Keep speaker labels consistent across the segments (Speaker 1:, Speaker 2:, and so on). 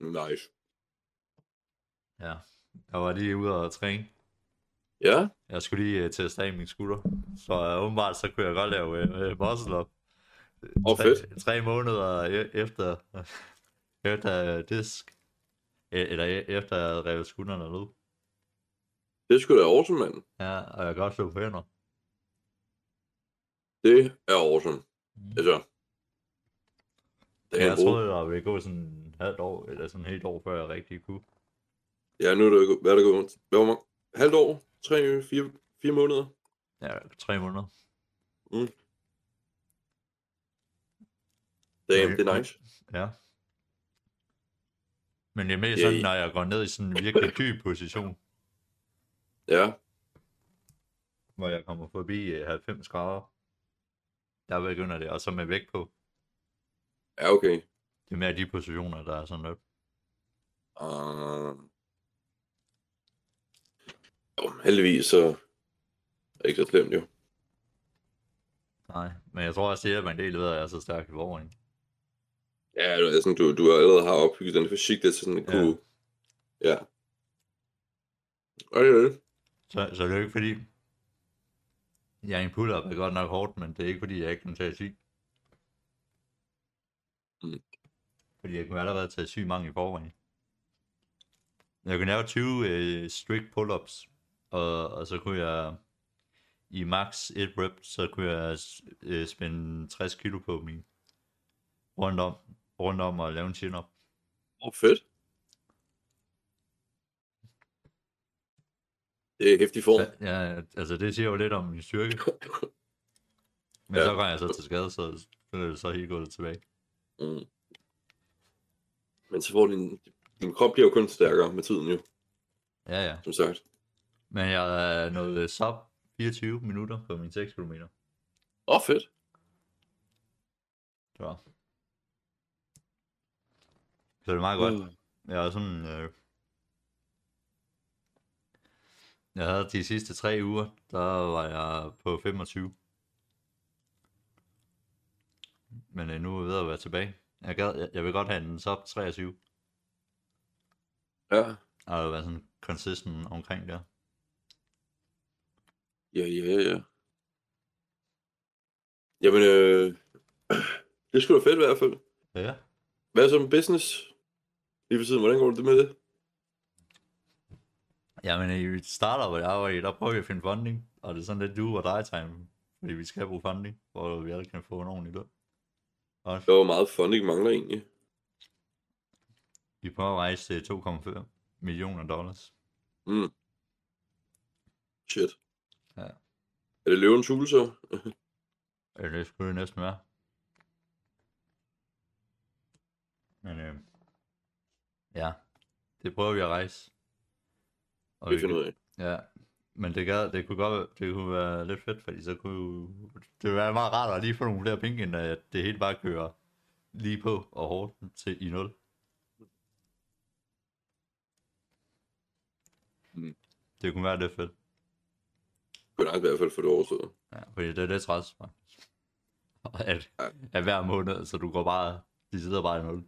Speaker 1: Nice.
Speaker 2: Ja. Jeg var lige ude og træne.
Speaker 1: Ja,
Speaker 2: Jeg skulle lige øh, teste af min skulder. Så øh, åbenbart, så kunne jeg godt lave øh, muscle up.
Speaker 1: Åh,
Speaker 2: tre,
Speaker 1: fedt.
Speaker 2: tre måneder e- efter, efter øh, disk. E- Eller e- efter jeg havde revet skuldrene ned.
Speaker 1: det skulle sgu da awesome, mand.
Speaker 2: Ja, og jeg kan godt slå på hænder.
Speaker 1: Det er awesome.
Speaker 2: Mm.
Speaker 1: Altså, det er
Speaker 2: Jeg
Speaker 1: en bro.
Speaker 2: troede, der ville gå sådan et halvt år, eller sådan et helt år, før jeg rigtig kunne.
Speaker 1: Ja, nu er det, hvad er det gået? Hvad var mange? Halvt år? Tre, fire, fire måneder?
Speaker 2: Ja, tre måneder.
Speaker 1: Damn,
Speaker 2: Nej,
Speaker 1: det er
Speaker 2: nej.
Speaker 1: nice.
Speaker 2: Ja. Men det er mest
Speaker 1: Ja,
Speaker 2: sådan,
Speaker 1: i-
Speaker 2: når jeg går ned i sådan en virkelig dyb position,
Speaker 1: Ja,
Speaker 2: hvor jeg kommer forbi øh, 90 grader. Der begynder det, og så med vægt på.
Speaker 1: ja okay.
Speaker 2: Det er mere de positioner, der er sådan lidt.
Speaker 1: Uh... Jo, heldigvis så er det ikke så slemt jo.
Speaker 2: Nej, men jeg tror også, det hjælper en del ved, at jeg er så stærk i forvejen.
Speaker 1: Ja, du, er sådan, du, du allerede har opbygget den fysik, der til sådan at
Speaker 2: Ja.
Speaker 1: kunne... Ja. Okay, okay.
Speaker 2: Så, så det er jo ikke fordi... Jeg er en pull-up, er godt nok hårdt, men det er ikke fordi, jeg ikke kan tage syg.
Speaker 1: Mm.
Speaker 2: Fordi jeg kunne allerede tage syg mange i forvejen. Jeg kunne lave 20 øh, strict pull-ups, og, og så kunne jeg i max 1 rep, så kunne jeg øh, spænde 60 kilo på min rundt om, rundt om og lave en chin-up.
Speaker 1: Åh, fedt. Det er hæftig form.
Speaker 2: Ja, altså det siger jo lidt om min styrke. Men
Speaker 1: Ja.
Speaker 2: ja. så går jeg så til skade, så, så er det så helt gået tilbage.
Speaker 1: Mm. Men så får din, din krop bliver jo kun stærkere med tiden jo,
Speaker 2: Ja, ja.
Speaker 1: som sagt.
Speaker 2: Men jeg er nået sub 24 minutter på mine 6 km.
Speaker 1: Åh, fedt.
Speaker 2: Så. så det er meget godt. Jeg er sådan... Øh... Jeg havde de sidste tre uger, der var jeg på 25. Men øh, nu er jeg ved at være tilbage. Jeg, gad, jeg, jeg vil godt have en sub 23.
Speaker 1: Ja,
Speaker 2: Og være sådan consistent omkring der.
Speaker 1: ja, ja, ja, ja. Jamen, øh, det skulle da fedt i hvert fald.
Speaker 2: Ja.
Speaker 1: Hvad så med business? Lige for tiden, hvordan går det med det?
Speaker 2: Jamen, i starter, hvor jeg arbejder, i, der prøver vi at finde funding, og det er sådan lidt du og dig time, fordi vi skal bruge funding, hvor vi alle kan få en ordentlig løn. Og
Speaker 1: Der var meget funding mangler egentlig.
Speaker 2: vi prøver at rejse til 2,5 millioner dollars.
Speaker 1: Mm. Shit.
Speaker 2: Ja.
Speaker 1: Er det løvens hule så?
Speaker 2: Øh, Det skulle det næsten være. Men øh, ja, det prøver vi at rejse. Og
Speaker 1: Vi finder ud af.
Speaker 2: Ja, men det, gad, det kunne godt det kunne være lidt fedt, fordi så kunne det ville være meget rart at lige få nogle flere penge, end at det hele bare kører lige på og hårdt til i nul.
Speaker 1: Mm.
Speaker 2: Det kunne være lidt fedt.
Speaker 1: Kunne nok i hvert fald for det år siden.
Speaker 2: Ja, fordi det er lidt træls, faktisk. At,
Speaker 1: Ja.
Speaker 2: at hver måned, så du går bare, de sidder bare i nul.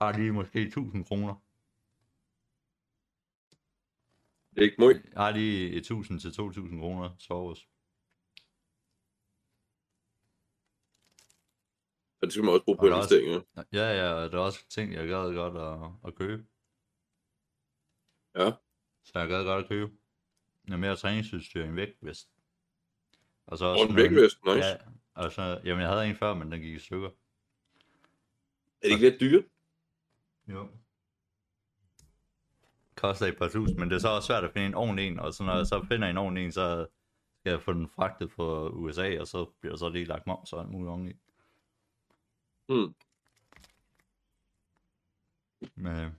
Speaker 2: Har lige måske 1000 kroner.
Speaker 1: Det er ikke møg.
Speaker 2: Jeg har lige 1000 til 2000 kroner til års.
Speaker 1: Og det skal man også bruge på
Speaker 2: Og der er også-
Speaker 1: investeringer.
Speaker 2: Ja, ja, og der er også ting, jeg gad godt at, at købe.
Speaker 1: Ja.
Speaker 2: Så jeg gad godt at købe noget mere træningsudstyr end vægtvest. Og så
Speaker 1: Og en
Speaker 2: noget-
Speaker 1: vægtvest, nice.
Speaker 2: Ja, og så, jamen jeg havde en før, men den gik i stykker.
Speaker 1: Er det ikke lidt dyrt?
Speaker 2: Jo. Koster et par tusind, men det er så også svært at finde en ordentlig en, og så når jeg så finder en ordentlig en, så skal jeg få den fragtet fra USA, og så bliver der så lige lagt moms og alt muligt ordentligt.
Speaker 1: Hmm.
Speaker 2: Men, øh,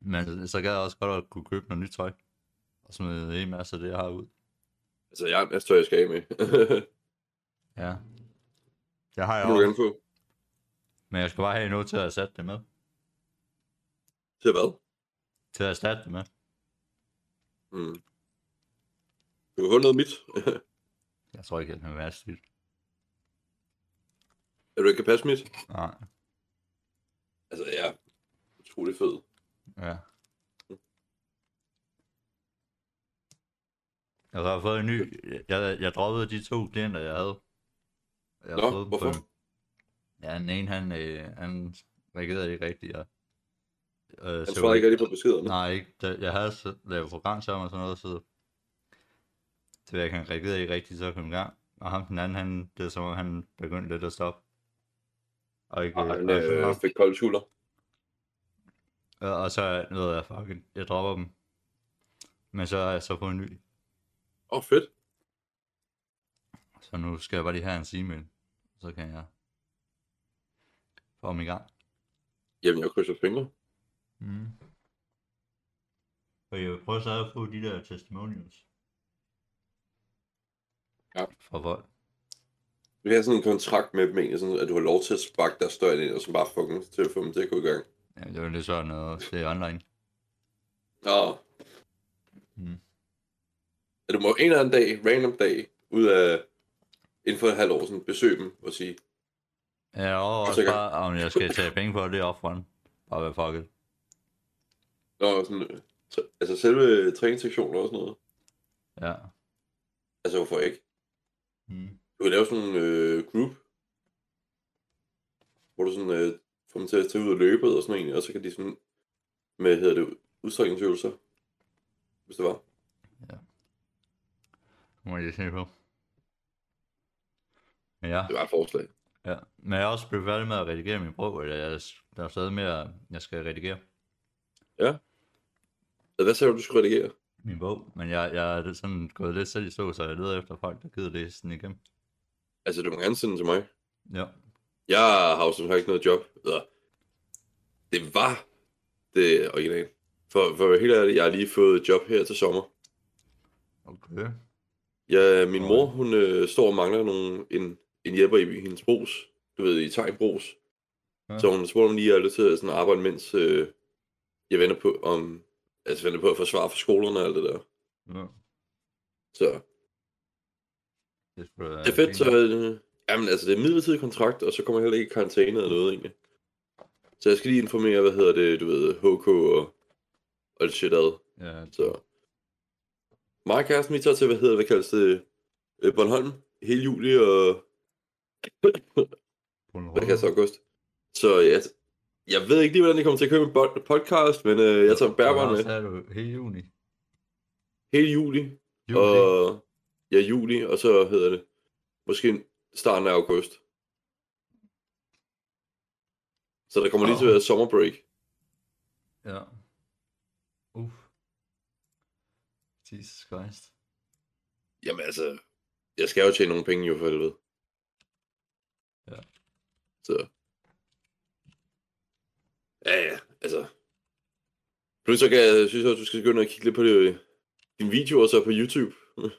Speaker 2: men så gad jeg også godt at kunne købe noget nyt tøj, og smide en hel masse af det, jeg har ud.
Speaker 1: Altså, jeg har en masse tøj, jeg skal af med. det
Speaker 2: Ja. Jeg har jeg
Speaker 1: må du
Speaker 2: også,
Speaker 1: gerne få.
Speaker 2: men jeg skal bare have noget til at erstatte det med.
Speaker 1: Til hvad?
Speaker 2: Til at erstatte det med.
Speaker 1: Mm. Du kan få noget af mit.
Speaker 2: Jeg tror ikke, at det er vanskeligt.
Speaker 1: er du ikke kan passe mit?
Speaker 2: Nej.
Speaker 1: Altså, jeg utrolig fed.
Speaker 2: Ja. Jeg har fået en ny... Jeg, jeg droppede de to klienter, jeg havde. Jeg
Speaker 1: Nå,
Speaker 2: fået dem
Speaker 1: hvorfor?
Speaker 2: på- Ja, den ene, han, øh, han reagerede ikke rigtigt. Og, øh,
Speaker 1: Han
Speaker 2: så-
Speaker 1: svarede ikke rigtig på beskeden.
Speaker 2: Nej, ikke. Da, jeg havde så- lavet program sammen og sådan noget, så... Det ved jeg, ikke, han reagerede ikke rigtigt, så kom i gang. Og ham den anden, han, det er som om, han begyndte lidt at stoppe. Og ikke...
Speaker 1: Og han
Speaker 2: og- og-
Speaker 1: øh, fik kolde skulder.
Speaker 2: Øh, og, og så nu ved jeg, fucking, jeg dropper dem. Men så har jeg så fået en ny.
Speaker 1: Åh, oh, fedt.
Speaker 2: Så nu skal jeg bare lige have en Siemens. Så kan jeg få dem i gang.
Speaker 1: Jamen, jeg krydser fingre.
Speaker 2: Mm. Og jeg vil prøve så at få de der testimonials.
Speaker 1: Ja.
Speaker 2: For vold.
Speaker 1: Vi har sådan en kontrakt med dem egentlig, sådan, at du har lov til at sparke deres dør ind, og så bare fucking til at få dem til at gå i gang.
Speaker 2: Ja, det er jo lidt sådan noget, det er online.
Speaker 1: Nå.
Speaker 2: Mm.
Speaker 1: At du må en eller anden dag, random dag, ud af inden for et halvt år, sådan, besøge dem og sige,
Speaker 2: Ja, og også
Speaker 1: sikkert.
Speaker 2: bare, om jeg skal tage penge for det er upfront. Bare være fucket.
Speaker 1: Nå, sådan, øh, tr- altså selve træningssektionen og sådan noget.
Speaker 2: Ja.
Speaker 1: Altså, hvorfor ikke?
Speaker 2: Mm.
Speaker 1: Du kan lave sådan en øh, group, hvor du sådan, øh, får dem til at tage ud og løbe og sådan noget, og så kan de sådan, med, hedder det, udstrækningsøvelser, hvis det var.
Speaker 2: Må jeg lige se på. Men ja.
Speaker 1: Det var et forslag.
Speaker 2: Ja, men jeg er også blevet færdig med at redigere min bog, eller jeg, der er stadig mere, jeg skal redigere
Speaker 1: Så hvad sagde du, du skulle redigere?
Speaker 2: min bog, men jeg, jeg er sådan gået lidt selv i stå, så jeg leder efter folk, der gider læse den igennem.
Speaker 1: Altså, du må gerne sende den til mig.
Speaker 2: Ja,
Speaker 1: Jeg har jo som sagt ikke noget job. Eller, det var det originale. For, for at være helt ærlig, jeg har lige fået et job her til sommer.
Speaker 2: okay.
Speaker 1: Ja, min mor, hun øh, står og mangler nogle, en, en hjælper i hendes brus. Du ved, i Tegnbros.
Speaker 2: Ja.
Speaker 1: Ja. Så hun spurgte, om lige jeg har lyst til at sådan arbejde, mens øh, jeg venter på, om, altså venter på at få svar fra skolerne og alt det der.
Speaker 2: Ja,
Speaker 1: Så
Speaker 2: det, skulle,
Speaker 1: det er fedt, så... Øh, jamen, altså, det er en midlertidig kontrakt, og så kommer jeg heller ikke i karantæne eller noget, egentlig. Så jeg skal lige informere, hvad hedder det, du ved, HK og, og det shit ad.
Speaker 2: Ja,
Speaker 1: Så. Mig og kæresten, vi tager til, hvad hedder det, hvad kaldes det, øh, Bornholm, hele juli og, hvad kaldes det, august. Så jeg, jeg ved ikke lige, hvordan det kommer til at køre med bod- podcast, men øh, jeg tager bærbaren med
Speaker 2: Så er du hele juni.
Speaker 1: hele juli,
Speaker 2: Juli. Og...
Speaker 1: og, ja, juli, og så hedder det, måske starten af august. Så der kommer lige til at være sommerbreak.
Speaker 2: Ja. Uff. Jesus Christ.
Speaker 1: Jamen altså, jeg skal jo tjene nogle penge jo for helvede.
Speaker 2: Ja.
Speaker 1: Så. Ja, ja, altså. Plus så kan jeg, synes jeg, at du skal begynde at kigge lidt på det, øh, dine videoer så på YouTube.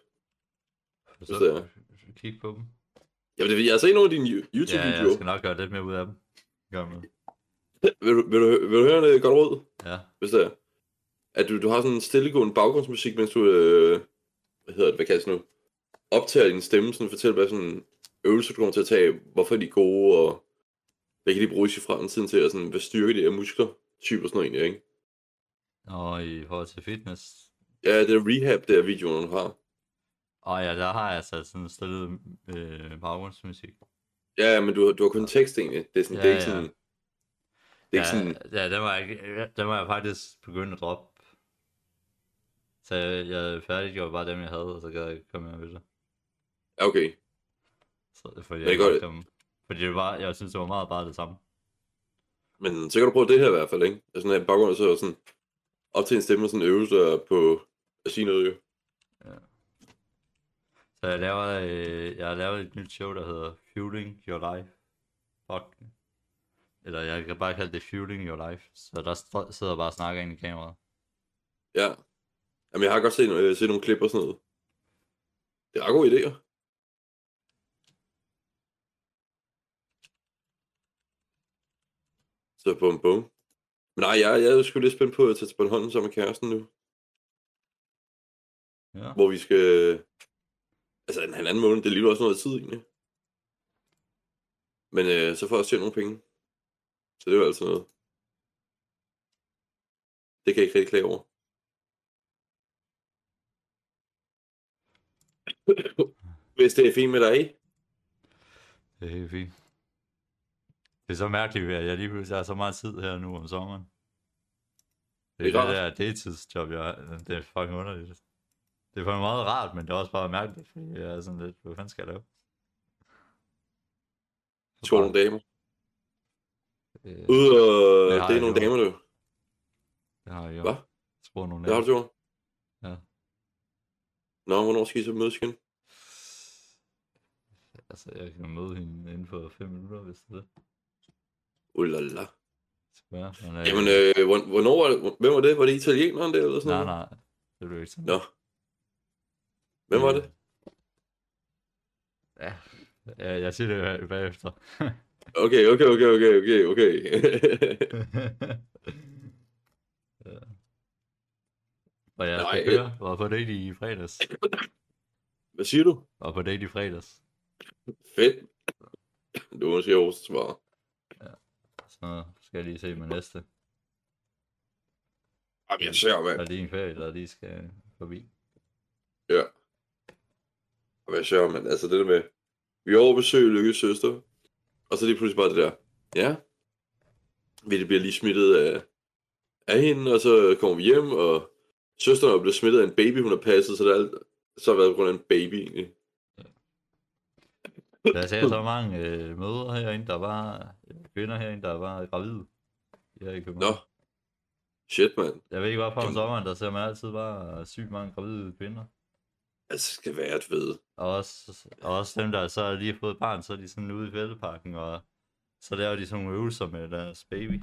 Speaker 2: Så,
Speaker 1: det er-
Speaker 2: kig på dem.
Speaker 1: Jamen, det, jeg har set nogle af dine Yo-
Speaker 2: Ja, jeg
Speaker 1: YouTube-videoer.
Speaker 2: skal nok gøre lidt mere ud af dem. Gør med.
Speaker 1: vil, du, vil, du, hø- vil du høre et godt råd,
Speaker 2: Ja.
Speaker 1: hvis det er? At du, du har sådan en stillegående baggrundsmusik, mens du, øh, hvad hedder det, hvad kaldes det nu, optager din stemme, sådan fortæller, hvad sådan øvelser, du kommer til at tage, hvorfor de er gode, og hvad kan de bruges i fremtiden til, og sådan, hvad styrker de af muskler, typer sådan noget egentlig, ikke?
Speaker 2: Og i forhold til fitness,
Speaker 1: Ja, det er rehab, der videoen, du har.
Speaker 2: Og ja, der har jeg altså sådan stillet øh, baggrundsmusik.
Speaker 1: Ja, men du, du har kun tekst egentlig. Det er sådan, ja, det er ikke
Speaker 2: Ja, ja.
Speaker 1: sådan, det er ikke
Speaker 2: ja,
Speaker 1: sådan,
Speaker 2: ja, den var, jeg, ikke- den var jeg faktisk begyndt at droppe. Så jeg, jeg færdiggjorde bare dem, jeg havde, og så gad jeg ikke komme mere ved det.
Speaker 1: ja, okay.
Speaker 2: Så, fordi
Speaker 1: Det er
Speaker 2: jeg
Speaker 1: godt.
Speaker 2: godt. Dem, fordi det var, jeg synes, det var meget bare det samme.
Speaker 1: Men så kan du prøve det her i hvert fald, ikke? Altså, sådan her baggrund, så er sådan op til en stemme og sådan øvelser på at sige noget, jo.
Speaker 2: Så jeg laver, øh, jeg har lavet et nyt show, der hedder Fueling Your Life. Fuck. Eller jeg kan bare kalde det Fueling Your Life. Så der st- sidder jeg bare og snakker ind i kameraet.
Speaker 1: Ja. Jamen, jeg har godt set, øh, set nogle klip og sådan noget. Det er ret gode idéer. Så bum bum. Men nej, jeg, jeg er sgu lidt spændt på at tage til Bornholm sammen med kæresten nu.
Speaker 2: Ja.
Speaker 1: Hvor vi skal... Altså, en halvanden måned, det er lige også noget tid egentlig. Men øh, så får jeg også tjent nogle penge. Så det er jo altid noget. altså Det kan jeg ikke rigtig klage over. Hvis det er fint med dig.
Speaker 2: Det er helt fint. Det er så mærkeligt, at jeg lige pludselig har så meget tid her nu om sommeren. Det
Speaker 1: Det
Speaker 2: er
Speaker 1: er
Speaker 2: det, det der deltidsjob, jeg har. Det er fucking underligt. Det er fucking meget rart, men det er også bare mærkeligt, fordi jeg er sådan lidt, hvad fanden skal jeg lave?
Speaker 1: Tror nogle damer.
Speaker 2: Øh,
Speaker 1: Ude, øh,
Speaker 2: Det
Speaker 1: det
Speaker 2: har
Speaker 1: er
Speaker 2: jeg
Speaker 1: nogle
Speaker 2: gjort.
Speaker 1: damer, du.
Speaker 2: Det har jeg gjort.
Speaker 1: Hvad?
Speaker 2: Jeg tror nogle
Speaker 1: Det har
Speaker 2: af
Speaker 1: du gjort.
Speaker 2: Ja.
Speaker 1: Nå, hvornår skal I så mødes igen?
Speaker 2: Altså, jeg kan møde hende inden for 5 minutter, hvis det er det.
Speaker 1: Ulala.
Speaker 2: Skal jeg? Men, øh,
Speaker 1: Jamen, øh, hvor- hvornår var det, hvem var det? Var det italieneren der, eller sådan
Speaker 2: Nej,
Speaker 1: noget?
Speaker 2: nej. Det blev ikke sådan.
Speaker 1: Nå. Hvem var det?
Speaker 2: Øh. Ja, jeg, jeg siger det bag- bagefter.
Speaker 1: Okay, okay, okay, okay, okay, okay.
Speaker 2: ja. Øh. Og jeg
Speaker 1: Nej,
Speaker 2: skal
Speaker 1: øh.
Speaker 2: køre. Var på date i fredags.
Speaker 1: Hvad siger du?
Speaker 2: Var på date i fredags.
Speaker 1: Fedt. Det var måske også svar.
Speaker 2: Så skal jeg lige se med næste.
Speaker 1: Jamen, jeg ser, mand.
Speaker 2: Der er lige en ferie, der lige skal forbi.
Speaker 1: Ja. Og hvad sjovt, mand. Altså det der med, vi overbesøger Lykkes søster, og så lige pludselig bare det der, ja, vi det bliver lige smittet af, af hende, og så kommer vi hjem, og søsteren er blevet smittet af en baby, hun har passet, så det er alt, så har det været på grund af en baby egentlig.
Speaker 2: Der sagde så mange øh, møder herinde, der var øh, kvinder herinde, der var gravide. Ja, i København.
Speaker 1: Nå. Shit, mand.
Speaker 2: Jeg ved ikke, hvorfor om
Speaker 1: Jamen-
Speaker 2: sommeren, der ser man altid bare sygt mange gravide kvinder.
Speaker 1: Altså, skal være et ved.
Speaker 2: Og også, og også dem, der så lige har fået et barn, så er de sådan ude i fældeparken, og så laver de sådan nogle øvelser med deres baby.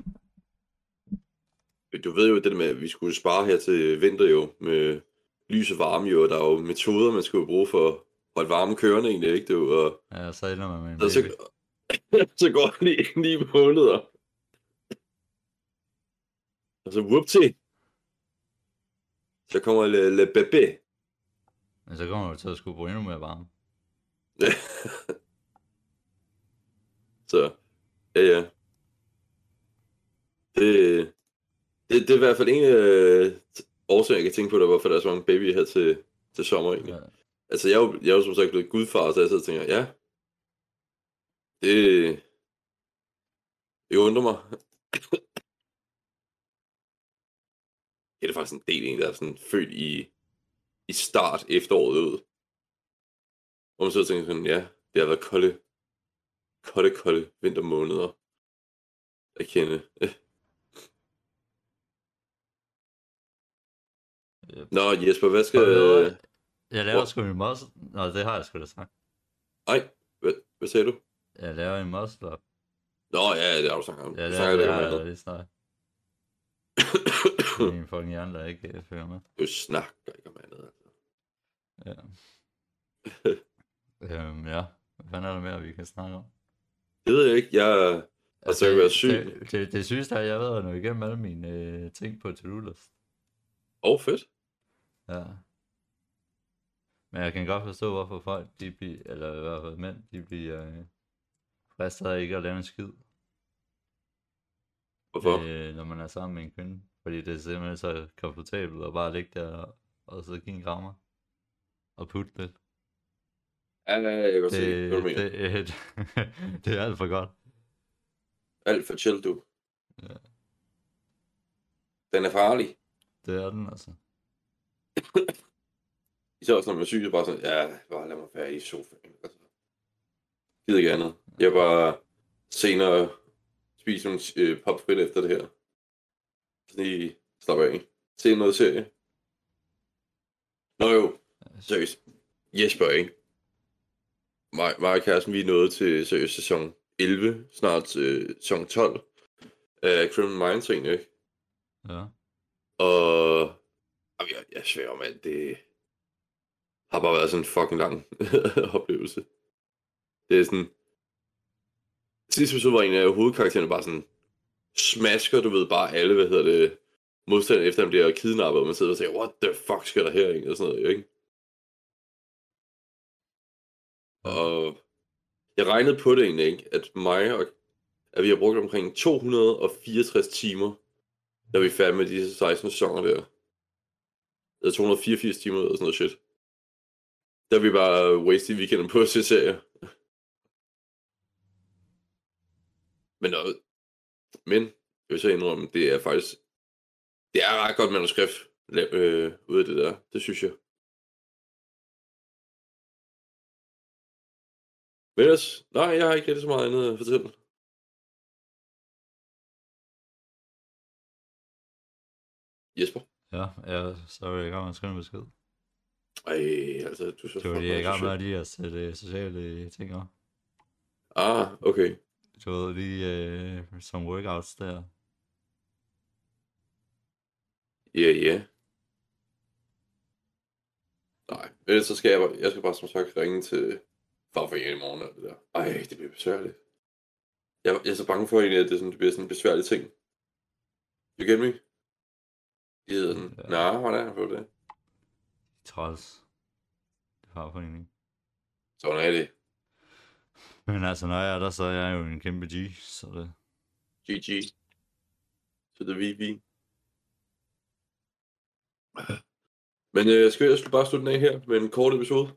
Speaker 1: Du ved jo det der med, at vi skulle spare her til vinter jo, med lys og varme jo, og der er jo metoder, man skulle bruge for at holde varmen kørende egentlig, ikke? Det er jo, og
Speaker 2: Ja, og så ender man med en
Speaker 1: Og så,
Speaker 2: baby.
Speaker 1: så går det lige ni måneder. Og så whoopty. Altså, Så kommer Le, le Bébé.
Speaker 2: Men så kommer du til at skulle bruge endnu mere varme.
Speaker 1: Så, ja ja. Det, det, det er i hvert fald en øh, årsag, jeg kan tænke på, der, hvorfor der er så mange babyer her til, til sommer egentlig.
Speaker 2: Ja.
Speaker 1: Altså, jeg er jo, jeg er jo som sagt blevet gudfar, så jeg sidder og tænker, ja, det, det undrer mig. ja, det er faktisk en del en, der er sådan født i, i start efteråret ud. Hvor man sidder og tænker sådan, ja, det har været kolde, kolde, kolde vintermåneder at kende.
Speaker 2: Yep.
Speaker 1: Nå, Jesper, hvad skal...
Speaker 2: Øh, jeg laver
Speaker 1: hvor-
Speaker 2: sgu en muscle... Nå, det har jeg sgu da sagt.
Speaker 1: Ej, hvad, hvad sagde du?
Speaker 2: Jeg laver en muscle up.
Speaker 1: Nå, ja, ja, det har du snakket om.
Speaker 2: Ja,
Speaker 1: Du
Speaker 2: det
Speaker 1: snakker
Speaker 2: har
Speaker 1: lidt om
Speaker 2: jeg
Speaker 1: andet.
Speaker 2: da lige snart. Min fucking hjerne, der ikke øh, følger med.
Speaker 1: Du snakker ikke om andet. altså.
Speaker 2: Ja. øhm, ja. Hvad fanden er der mere, vi kan snakke om?
Speaker 1: Det ved jeg ikke. Jeg, Og så kan jeg være syg.
Speaker 2: Altså, Det, det, det sygeste er, at jeg ved at nå igennem alle mine øh, ting på to list.
Speaker 1: Åh, oh, fedt.
Speaker 2: Ja. Men jeg kan godt forstå, hvorfor folk, de bliver, eller i hvert fald mænd, de bliver øh, fristet af ikke at lave en skid,
Speaker 1: Hvorfor? Øh.
Speaker 2: øh, når man er sammen med en kvinde. Fordi det er simpelthen så komfortabelt at bare ligge der og så give en krammer og putte lidt.
Speaker 1: Ja, ja, ja, jeg kan godt se,
Speaker 2: Det,
Speaker 1: hvad du
Speaker 2: det,
Speaker 1: mener.
Speaker 2: det, øh, det er alt for godt.
Speaker 1: Alt for chill, du.
Speaker 2: Ja.
Speaker 1: Den er farlig.
Speaker 2: Det er den altså.
Speaker 1: Især også, når man er syg, så bare sådan, ja, bare lad mig være i sofaen. Altså, gider ikke andet. Jeg bare senere spise nogle øh, popfrit efter det her. Så lige slappe af. Se noget serie. Nå jo, seriøst. Jesper, ikke? Mig, mig og kæresten, vi er nået til seriøst sæson 11, snart øh, sæson 12 af Criminal Minds, egentlig, ikke?
Speaker 2: Ja.
Speaker 1: Og jamen, jeg, jeg sværer, mand, det har bare været sådan en fucking lang oplevelse. Det er sådan... Sidste episode var en af hovedkaraktererne bare sådan... Smasker, du ved, bare alle, hvad hedder det... Modstanderne efter, han bliver kidnappet, og man sidder og siger, what the fuck sker der her, ikke? Og sådan noget, ikke? Og jeg regnede på det egentlig, ikke? At mig og... At vi har brugt omkring 264 timer Da vi er færdige med de 16 sæsoner der. Eller 284 timer eller sådan noget shit. Der har vi bare wasted weekenden på at se serier. Men, øh, men jeg vil så indrømme, det er faktisk... Det er ret godt manuskript la- øh, ud af det der. Det synes jeg. Men ellers, nej, jeg har ikke rigtig så meget andet at fortælle. Jesper?
Speaker 2: Ja, ja så er jeg i gang med at skrive en besked.
Speaker 1: Ej, altså, du er så
Speaker 2: Det var
Speaker 1: fucking
Speaker 2: lige jeg er i gang med
Speaker 1: social.
Speaker 2: lige at sætte øh, sociale ting op.
Speaker 1: Ah, okay.
Speaker 2: Du ved, lige øh, som workouts der.
Speaker 1: Ja, yeah, ja. Yeah. Nej, men ellers så skal jeg, bare- jeg skal bare som sagt ringe til fagforeningen i morgen og det der. Ej, det bliver besværligt. Jeg, jeg er så bange for egentlig, at det, sådan, det bliver sådan en besværlig ting. Du kender mig? De hedder sådan,
Speaker 2: Ja.
Speaker 1: ja. nej, hvordan har du det?
Speaker 2: Træls. Det var for en
Speaker 1: Sådan er det.
Speaker 2: Men altså, når jeg er der, så er jeg jo en kæmpe G, så det...
Speaker 1: GG. To the VV. Men øh, skal jeg skulle bare slutte den af her med en kort episode?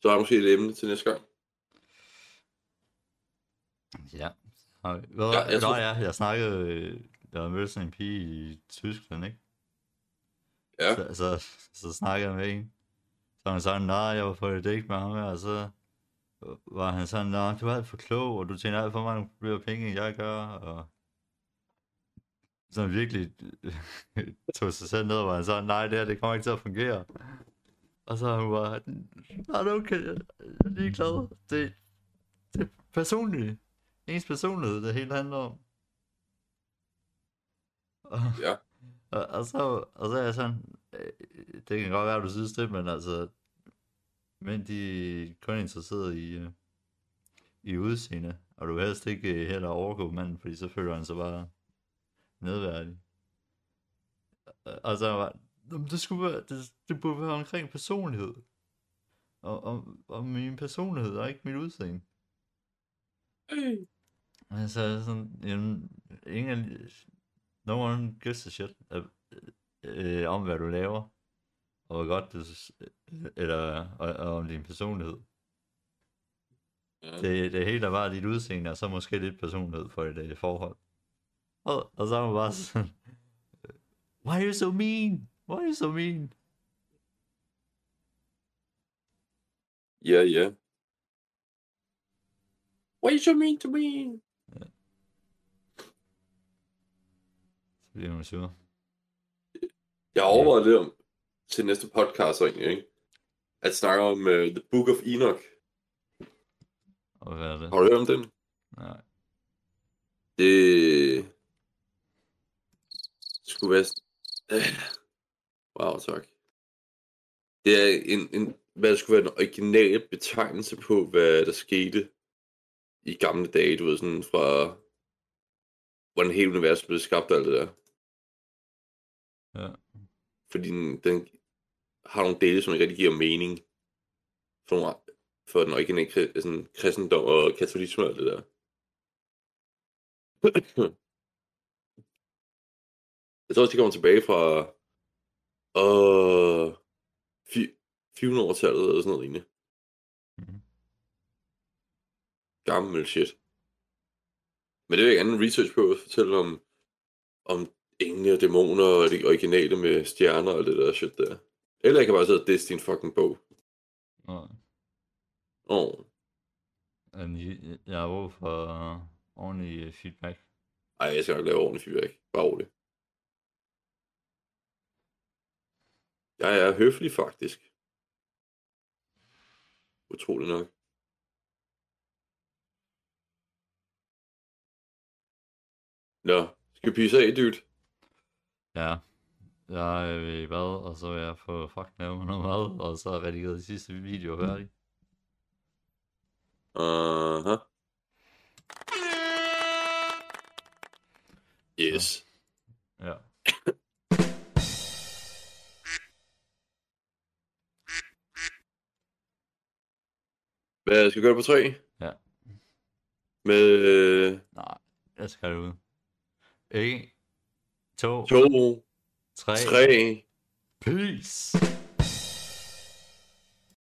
Speaker 1: Så har jeg måske et emne til næste gang.
Speaker 2: Ja. Har vi- Ved du
Speaker 1: Ja,
Speaker 2: hvad?
Speaker 1: jeg
Speaker 2: Nå
Speaker 1: tror-
Speaker 2: ja, jeg snakkede... øh, Jeg mødte sådan en pige i Tyskland, ikke?
Speaker 1: Ja.
Speaker 2: Så, så, så snakkede jeg med en. Så han sådan, nej, jeg var på et date med ham her, og så var han sådan, nej, du er alt for klog, og du tjener alt for mange flere penge, end jeg gør, og sådan virkelig tog sig selv ned, og var han sådan, nej, det her, det kommer ikke til at fungere. Og så var hun bare, nej, det er okay, jeg er ligeglad. Det, det er personligt. Ens personlighed, det hele handler om. Og,
Speaker 1: Ja.
Speaker 2: Og, og, så, og så er jeg sådan, øh, det kan godt være, du synes det, men altså, men de er kun interesseret i, øh, i udseende, og du vil helst ikke øh, heller overgå manden, fordi så føler han sig bare nedværdig. Og- Og så var "Jamen, det, skulle være, det, det burde være omkring personlighed. Og, og, og min personlighed, og ikke mit udseende. Men så er det sådan, jamen, ingen, no one gives a shit øh, øh, om, hvad du laver, og hvor godt du, s- eller og, og om din personlighed.
Speaker 1: Ja.
Speaker 2: Det, det hele er bare dit udseende, og så måske lidt personlighed for et øh, forhold. Og, og så er man bare sådan, why are you so mean? Why are you so mean?
Speaker 1: Ja, ja. What you mean to me?
Speaker 2: Så bliver man sur.
Speaker 1: Jeg har overvejet lidt om til næste podcast egentlig, ikke? At snakke om uh, The Book of Enoch.
Speaker 2: Og hvad er det?
Speaker 1: Har du hørt om den?
Speaker 2: Nej.
Speaker 1: Det skulle være... s- Wow, tak. Det er en, en, hvad der skulle være den originale betegnelse på, hvad der skete i gamle dage, du ved, sådan fra, hvordan hele universet blev skabt og alt det der.
Speaker 2: Ja.
Speaker 1: Fordi den, den har nogle dele, som ikke rigtig giver mening for, nogle, for den originale kri- sådan, kristendom og katolisme og alt det der. Jeg tror også, de kommer tilbage fra øh, fi- 400-tallet eller sådan noget lignende.
Speaker 2: Mhm.
Speaker 1: Gammel shit. Men det er jo ikke anden research på at fortælle om, om engle og dæmoner og de originale med stjerner og det der shit der. Eller jeg kan bare sidde og disse din fucking bog.
Speaker 2: Nå.
Speaker 1: Åh, oh.
Speaker 2: Men jeg- jeg har brug for ordentlig øh, feedback.
Speaker 1: ej, jeg skal nok lave ordentligt feedback. Bare roligt. Jeg er høflig faktisk. Utrolig nok. Nå, skal vi pisse af, dude?
Speaker 2: Ja. Jeg er i bad, og så er jeg på fucking lave noget mad, og så er jeg redigeret de sidste video færdig.
Speaker 1: Aha. Yes.
Speaker 2: Ja.
Speaker 1: Hvad skal vi gøre på tre?
Speaker 2: Ja.
Speaker 1: Med... Øh,
Speaker 2: Nej, jeg skal ud. Ikke? to,
Speaker 1: to,
Speaker 2: tre.
Speaker 1: tre.
Speaker 2: Peace.